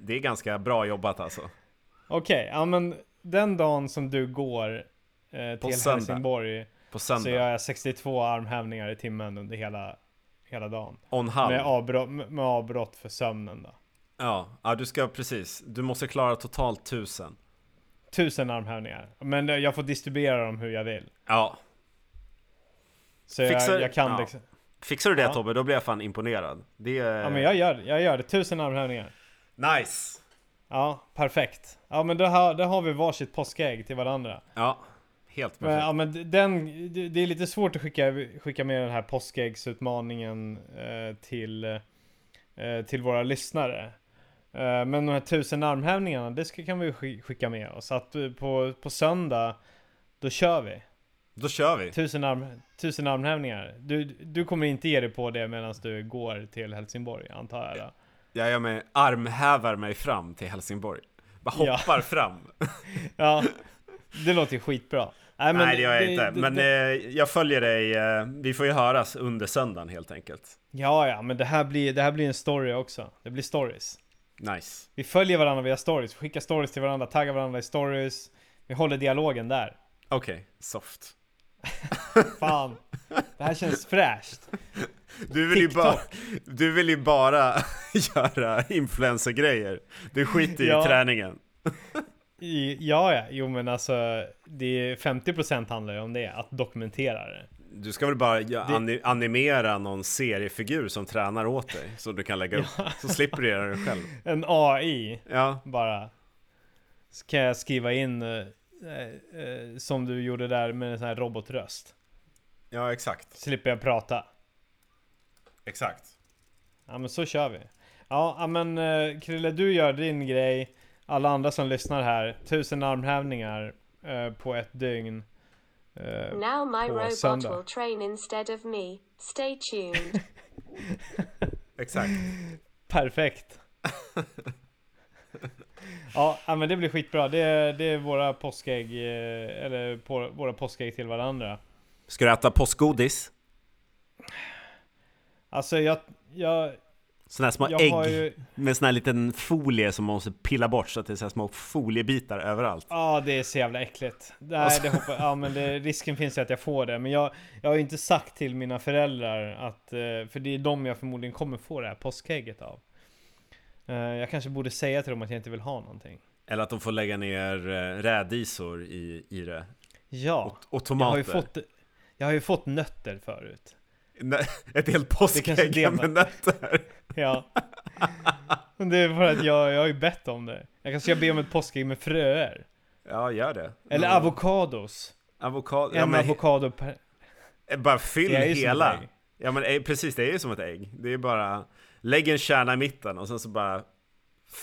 A: det är ganska bra jobbat alltså.
B: Okej, ja men den dagen som du går eh, till
A: söndag.
B: Helsingborg
A: På
B: så
A: söndag.
B: gör jag 62 armhävningar i timmen under hela, hela dagen.
A: On halv.
B: Med avbrott, med avbrott för sömnen då.
A: Ja, ja, du ska precis. Du måste klara totalt tusen.
B: Tusen armhävningar. Men eh, jag får distribuera dem hur jag vill.
A: Ja,
B: Så
A: Fixar-
B: jag, jag kan
A: ja.
B: liksom.
A: fixar du det
B: Ja.
A: Tobbe, då blir jag fan imponerad. Det är...
B: Ja men jag gör, jag gör det. Tusen armhävningar.
A: Nice!
B: Ja, perfekt. Ja men då har, då har vi varsitt påskägg till varandra.
A: Ja, helt
B: Men,
A: perfekt.
B: ja, men d- den, det- det är lite svårt att skicka, skicka med den här påskäggsutmaningen eh, till, eh, till våra lyssnare. Eh, men de här tusen armhävningarna, det ska, kan vi ju sk- skicka med oss. Så Att eh, på, på söndag, då kör vi.
A: Då kör vi.
B: Tusen, arm, tusen armhävningar. Du, du kommer inte ge dig på det medan du går till Helsingborg, antar jag. Då.
A: Jag gör mig, armhävar mig fram till Helsingborg. Bara
B: [laughs] Ja.
A: hoppar fram.
B: Ja, det låter ju skitbra. Nej,
A: Nej, det gör jag inte.
B: det-
A: Men
B: det-
A: eh, jag följer dig. Eh, vi får ju höras under söndagen helt enkelt.
B: Ja, ja, men det här, blir, det här blir en story också. Det blir stories.
A: Nice.
B: Vi följer varandra via stories, skickar stories till varandra, taggar varandra i stories. Vi håller dialogen där.
A: Okej, soft.
B: Fan, det här känns fräscht.
A: Du vill, ju
B: TikTok.
A: bara, du vill ju bara [laughs] göra influencer-grejer. Du skiter
B: Ja.
A: i träningen.
B: I, ja, ja, jo men alltså, det är 50% handlar ju om det, att dokumentera det.
A: Du ska väl bara ja,
B: Det-
A: ani- animera någon seriefigur som tränar åt dig. Så du kan lägga upp. Så slipper du göra det själv.
B: En AI
A: Ja,
B: bara. Så kan jag skriva in eh, eh, eh, som du gjorde där med en sån här robotröst.
A: ja exakt.
B: Slipper jag prata.
A: Exakt.
B: Ja men så kör vi. Ja ja, men eh, Krille du gör din grej. Alla andra som lyssnar här. Tusen armhävningar eh, på ett dygn. Eh,
C: Now my
B: på
C: robot
B: söndag.
C: will train instead of me. Stay tuned.
A: Exakt.
B: perfekt. Ja, ja, men det blir skitbra. Det är, det är våra påskägg, eh, eller på, våra påskägg till varandra.
A: Ska du äta påskgodis?
B: Alltså jag, jag,
A: Såna här små
B: jag har
A: ägg
B: ju...
A: med sån här liten folie som man måste pilla bort så att det är så här små foliebitar överallt.
B: Ja, det är så jävla äckligt. Nej,
A: Alltså.
B: det hoppas, ja, men det, risken finns ju att jag får det. Men jag, jag har ju inte sagt till mina föräldrar att, eh, för det är de jag förmodligen kommer få det här påskägget av. Eh, Jag kanske borde säga till dem att jag inte vill ha någonting.
A: Eller att de får lägga ner eh, rädisor i, i det.
B: Ja,
A: Och, och
B: jag har
A: tomater.
B: ju fått, jag har ju fått nötter förut.
A: Nej, Ett helt
B: kanske är det
A: påskägg med
B: man-
A: nötter.
B: Ja. [laughs] Men det är för att jag, jag har ju bett om det. Jag kanske ska be om ett påskägg med fröer.
A: Ja, gör det.
B: Eller
A: ja.
B: avokados.
A: avokado.
B: En
A: Ja, men,
B: avokado per...
A: bara fyll
B: Det är ju som
A: hela.
B: ett ägg.
A: Ja men eh, precis, det är ju som ett ägg. Det är ju bara, lägg en kärna i mitten och sen så bara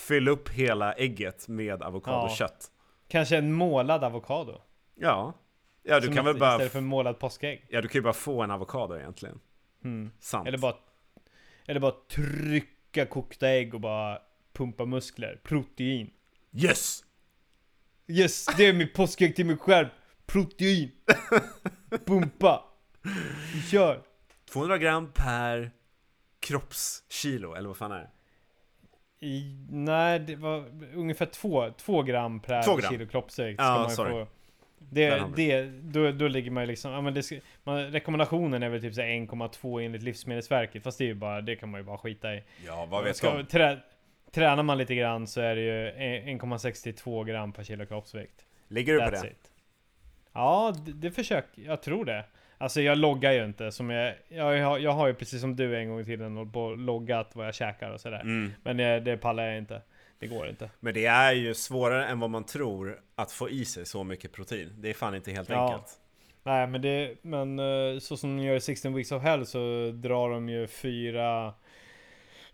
A: fyll upp hela ägget med avokadokött.
B: Kanske en målad avokado.
A: Ja. Ja, du
B: Som
A: kan väl
B: att-
A: bara,
B: Istället för målad påskägg.
A: ja, du kan ju bara få en avokado egentligen.
B: Mm.
A: Sant.
B: Eller bara, eller bara trycka kokta ägg och bara pumpa muskler. Protein.
A: Yes!
B: Yes, det är mitt påskägg till mig själv. Protein. Pumpa. Vi kör.
A: 200 gram per kroppskilo, eller vad fan är det?
B: I, nej, det var ungefär två, två gram per
A: Två gram.
B: kilo kroppsvikt.
A: Ja,
B: Ska man ju
A: sorry.
B: få.
A: Där
B: Det,
A: har vi
B: det, då, då ligger man ju liksom, ja, men det, ska- man, rekommendationen är väl typ så här 1,2 enligt Livsmedelsverket. Fast det är ju bara, det kan man ju bara skita i.
A: Ja, vad
B: Ska, trä, tränar man lite grann så är det ju 1,62 gram per kilo kroppsvikt.
A: Ligger du på det?
B: it. Ja, det, det försöker jag. tror det. Alltså jag loggar ju inte. Som jag, jag, har- jag har ju precis som du en gång i tiden hållit på och loggat vad jag käkar och sådär.
A: Mm.
B: Men det, det pallar jag inte. Det går inte.
A: Men det är ju svårare än vad man tror att få i sig så mycket protein. Det är fan inte helt
B: Ja.
A: enkelt.
B: Nej, men det, men eh, så som de gör i 16 Weeks of Hell så drar de ju fyra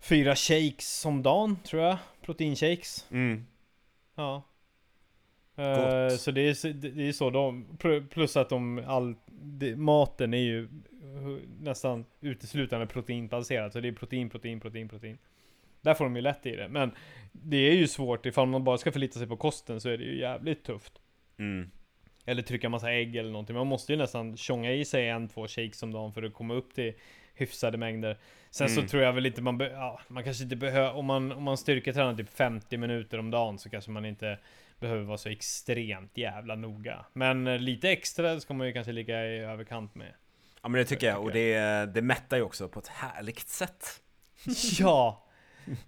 B: Fyra shakes om dagen tror jag. Proteinshakes.
A: Mm.
B: Ja. Eh,
A: Gott.
B: så det är, så- det det är så de, pr- plus att de, all, det, maten är ju hu- nästan uteslutande proteinbaserad. Så det är protein, protein, protein, protein. Där får de ju lätt i det. Men det är ju svårt ifall man bara ska förlita sig på kosten så är det ju jävligt tufft.
A: Mm.
B: Eller trycka massa ägg eller någonting. Man måste ju nästan tjonga i sig en, två shakes om dagen för att komma upp till hyfsade mängder. Sen
A: Mm.
B: så tror jag väl inte man be- ja, man kanske inte behöver, om man, om man styrketränar typ 50 minuter om dagen så kanske man inte behöver vara så extremt jävla noga. Men eh, lite extra ska man ju kanske ligga i överkant
A: [laughs]
B: med.
A: Ja men det tycker jag och det, det mättar ju också på ett härligt sätt.
B: Ja!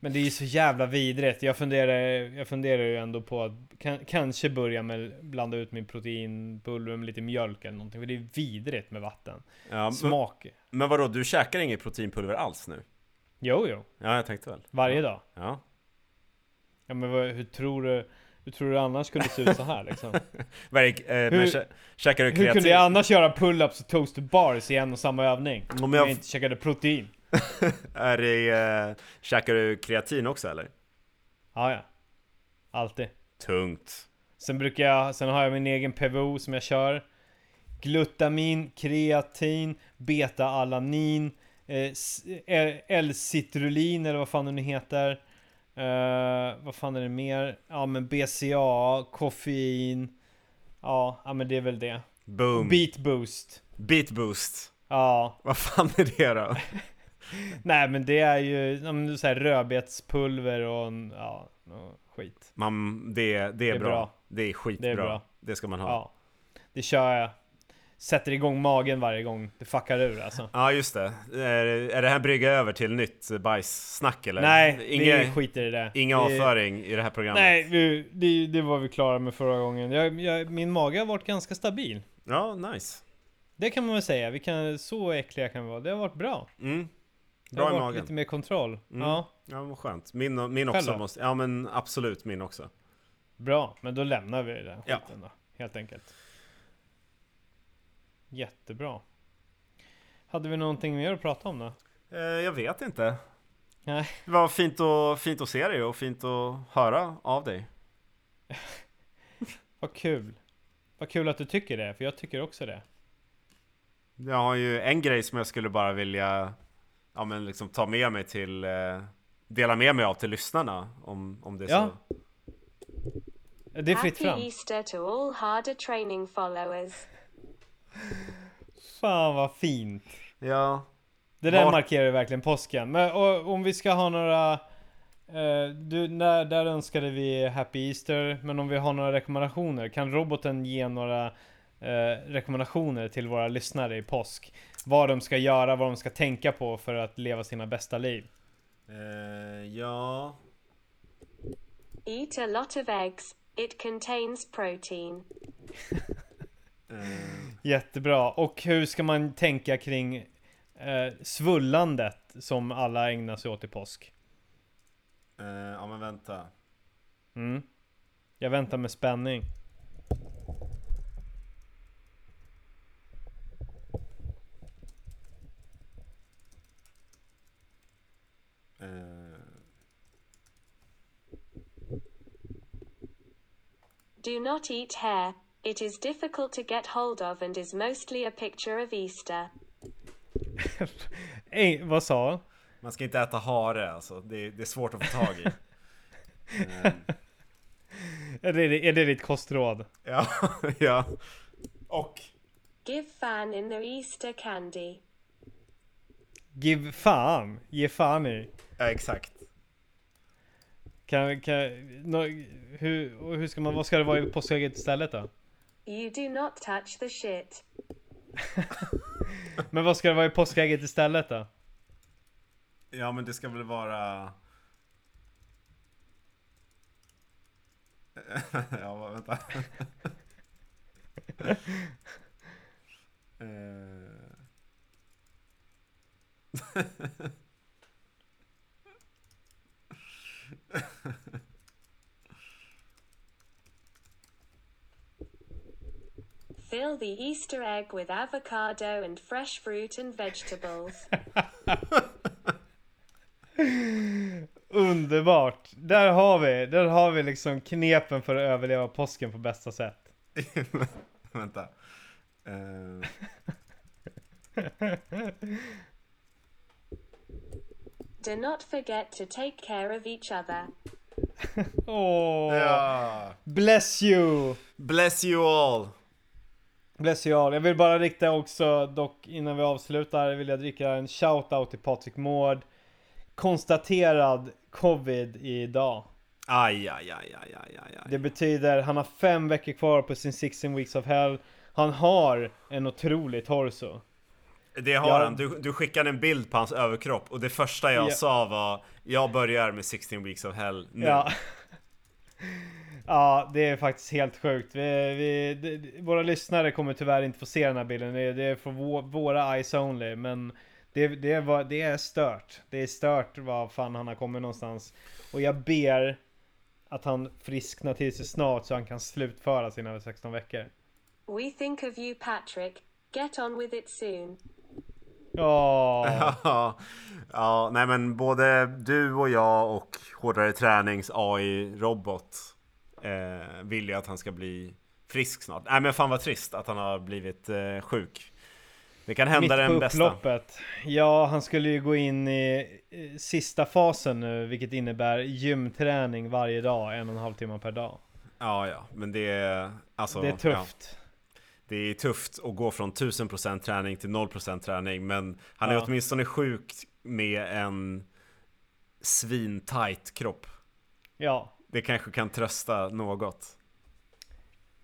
B: Men det är ju så jävla vidrigt. Jag funderar, jag funderar ju ändå på att kan, kanske börja med blanda ut min proteinpulver med lite mjölk eller någonting. För det är vidrigt med vatten.
A: Ja, men,
B: Smak.
A: men vadå, du käkar inget proteinpulver alls nu?
B: Jo, jo.
A: Ja, jag tänkte väl.
B: Varje dag.
A: Ja.
B: Ja, men vad, hur tror du? Hur tror du annars kunde det se ut så här
A: [laughs]
B: liksom?
A: Verk, eh, men
B: Hur-
A: kä- käkar du
B: Hur
A: kreatin?
B: kunde jag annars göra pull-ups och toasted bars i en och samma övning?
A: men
B: Om
A: jag-
B: jag inte käkade protein.
A: [laughs] Är det, eh, käkar du kreatin också eller?
B: Ja, ja. Alltid.
A: Tungt.
B: Sen brukar jag, sen har jag min egen PVO som jag kör. Glutamin, kreatin, beta-alanin, eh, s- eh, L-citrullin eller vad fan det nu heter. Eh, vad fan är det mer? Ja men BCA, koffein. Ja, ja men det är väl det.
A: Boom.
B: Beat boost.
A: Beat boost.
B: Ja,
A: Vad fan är det då?
B: nej men det är ju ja, men så här rödbetspulver och en- ja, och skit.
A: Man, det, det, är bra.
B: bra.
A: Det är skitbra.
B: Det är bra.
A: Det ska man ha. Ja,
B: Ja, det kör jag. Sätter igång magen varje gång. Det fuckar ur alltså.
A: just det. Är, är det här brygga över till nytt bajssnack eller?
B: Nej,
A: Inga,
B: vi skiter i det.
A: inga
B: det,
A: avföring i det här programmet.
B: Nej, vi, det, det var vi klara med förra gången. Jag, jag, min mage har varit ganska stabil.
A: Ja, nice.
B: Det kan man väl säga. Vi kan, så äckliga kan vi vara. Det har varit bra.
A: Mm.
B: Det
A: Bra
B: har
A: i
B: varit
A: magen.
B: lite mer kontroll.
A: Mm.
B: Ja,
A: Ja, vad skönt. Min, min också
B: Själv då?
A: måste... Ja, men absolut min också.
B: bra. Men då lämnar vi den
A: Ja.
B: skiten då, helt enkelt. Jättebra. Hade vi någonting mer att prata om då?
A: Eh, jag vet inte.
B: Nej.
A: Det var fint, och, fint att se dig och fint att höra av dig.
B: Vad kul. Vad kul att du tycker det, för jag tycker också det.
A: Jag har ju en grej som jag skulle bara vilja ja, men liksom ta med mig till eh, dela med mig av till lyssnarna om, om det är
B: Ja.
A: så.
B: Det är fritt
C: Happy
B: fram.
C: Easter to all harder training followers.
B: Fan vad fint.
A: Ja.
B: Det där
A: Vart-
B: markerar ju verkligen påsken. Men och, om vi ska ha några... Eh, du, där, där önskade vi Happy Easter, men om vi har några rekommendationer, kan roboten ge några eh, rekommendationer till våra lyssnare i påsk? Vad de ska göra, vad de ska tänka på för att leva sina bästa liv.
A: Eh, ja.
C: Eat a lot of eggs. It contains protein.
A: Eh,
B: Jättebra. Och hur ska man tänka kring eh, svullandet som alla ägnar sig åt i påsk?
A: eh, ja men vänta.
B: Mm. Jag väntar med spänning.
A: Eh,
C: Do not eat hair. It is difficult to get hold of and is mostly a picture of Easter.
B: Ey, Eh, vad sa jag?
A: man ska inte äta hare alltså. Det, det är svårt att få tag i. Eh,
B: Är det, är det ditt kostråd?
A: ja, [laughs] ja. Och?
C: Give fan in the Easter candy.
B: Give fan, ge fan i.
A: Ja exakt.
B: Kan, kan, nå hur, och hur ska man, vad ska det vara i påskägget istället då?
C: You do not touch the shit.
B: Men vad ska det vara i påskägget istället då?
A: Ja men det ska väl vara... [laughs] ja vad- vänta. [laughs] Eh. [laughs]
C: Fill the Easter egg with avocado and fresh fruit and vegetables.
B: Underbart! Där har vi, där har vi liksom knepen för att överleva påsken på bästa sätt.
A: Vänta. Eh,
C: do not forget to take care of each other.
B: Åh!
A: ja.
B: Bless you!
A: Bless you all!
B: Bless you all. Jag vill bara rikta också, dock innan vi avslutar, vill jag dricka en shout-out till Patrik Mård. Konstaterad covid idag.
A: Aj, aj, aj, aj, aj, aj, aj.
B: Det betyder han har fem veckor kvar på sin 16 weeks of hell. Han har en otrolig torso.
A: Det har
B: Jag-
A: han. Du, du skickade en bild på hans överkropp och det första jag
B: Ja.
A: sa var Jag börjar med 16 weeks of hell nu.
B: Ja. [laughs] ja, det är faktiskt helt sjukt. Vi, vi, d- d- våra lyssnare kommer tyvärr inte få se den här bilden. Det, det är för vå, våra eyes only. Men det, det, var, det är stört. Det är stört vad fan han har kommit någonstans. Och jag ber att han frisknar till sig snart så han kan slutföra sina 16 veckor.
C: We think of you, Patrick. Get on with it soon.
B: Ja.
A: [laughs] Ja, ja, nej men både du och jag och Hårdare Tränings AI-robot eh, vill ju att han ska bli frisk snart. Nej men fan vad trist att han har blivit eh, sjuk. Det kan hända
B: Mitt på
A: den bästa.
B: upploppet. Ja, han skulle ju gå in i eh, sista fasen nu, vilket innebär gymträning varje dag, en och en halv timme per dag.
A: Ja, ja, men det är alltså.
B: det är
A: ja.
B: tufft.
A: Det är tufft att gå från 1000% träning till 0% träning men han är
B: Ja.
A: åtminstone sjuk med en svintajt kropp.
B: Ja.
A: Det kanske kan trösta något.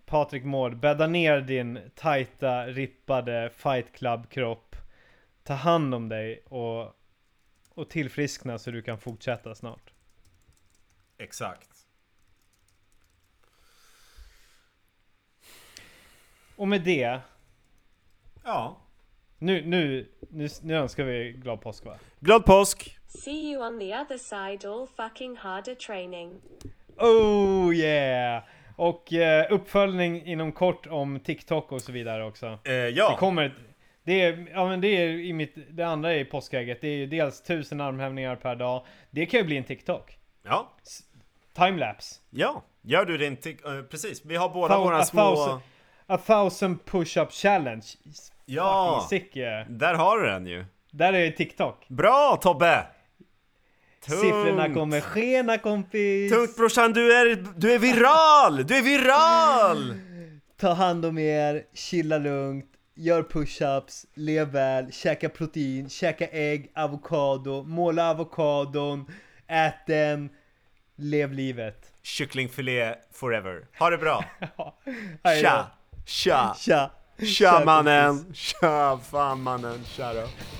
B: Patrik Mård, bädda ner din tajta, rippade fight club-kropp. Ta hand om dig och, och tillfriskna så du kan fortsätta snart.
A: Exakt.
B: Och med det,
A: Ja.
B: nu, nu, nu, nu önskar vi glad påsk va?
A: Glad påsk!
C: See you on the other side, all fucking harder training.
B: Oh yeah! Och eh, uppföljning inom kort om TikTok och så vidare också.
A: Eh,
B: Det
A: ja,
B: kommer ett- det är, ja men det är i mitt, det andra är i påskägget. Det är ju dels tusen armhävningar per dag. Det kan ju bli en TikTok.
A: ja,
B: Timelapse.
A: ja. Gör du din tik- eh, Precis, vi har båda
B: Thou-
A: våra
B: a
A: små...
B: thousand- A thousand push-up challenge.
A: Ja,
B: Fucking sick yeah.
A: där har du den ju.
B: Där är ju TikTok.
A: Bra Tobbe!
B: Siffrorna kommer skena kompis!
A: Tungt brorsan, du är, du är viral! Du är viral!
B: Ta hand om er, chilla lugnt, gör push-ups, lev väl, käka protein, käka ägg, avokado, måla avokadon, ät den, lev livet.
A: Kycklingfilé forever. Ha det bra!
B: Hej då.
A: Tja! Tja!
B: Tja!
A: Tja
B: kompis.
A: mannen! Tja fan mannen! Tja då!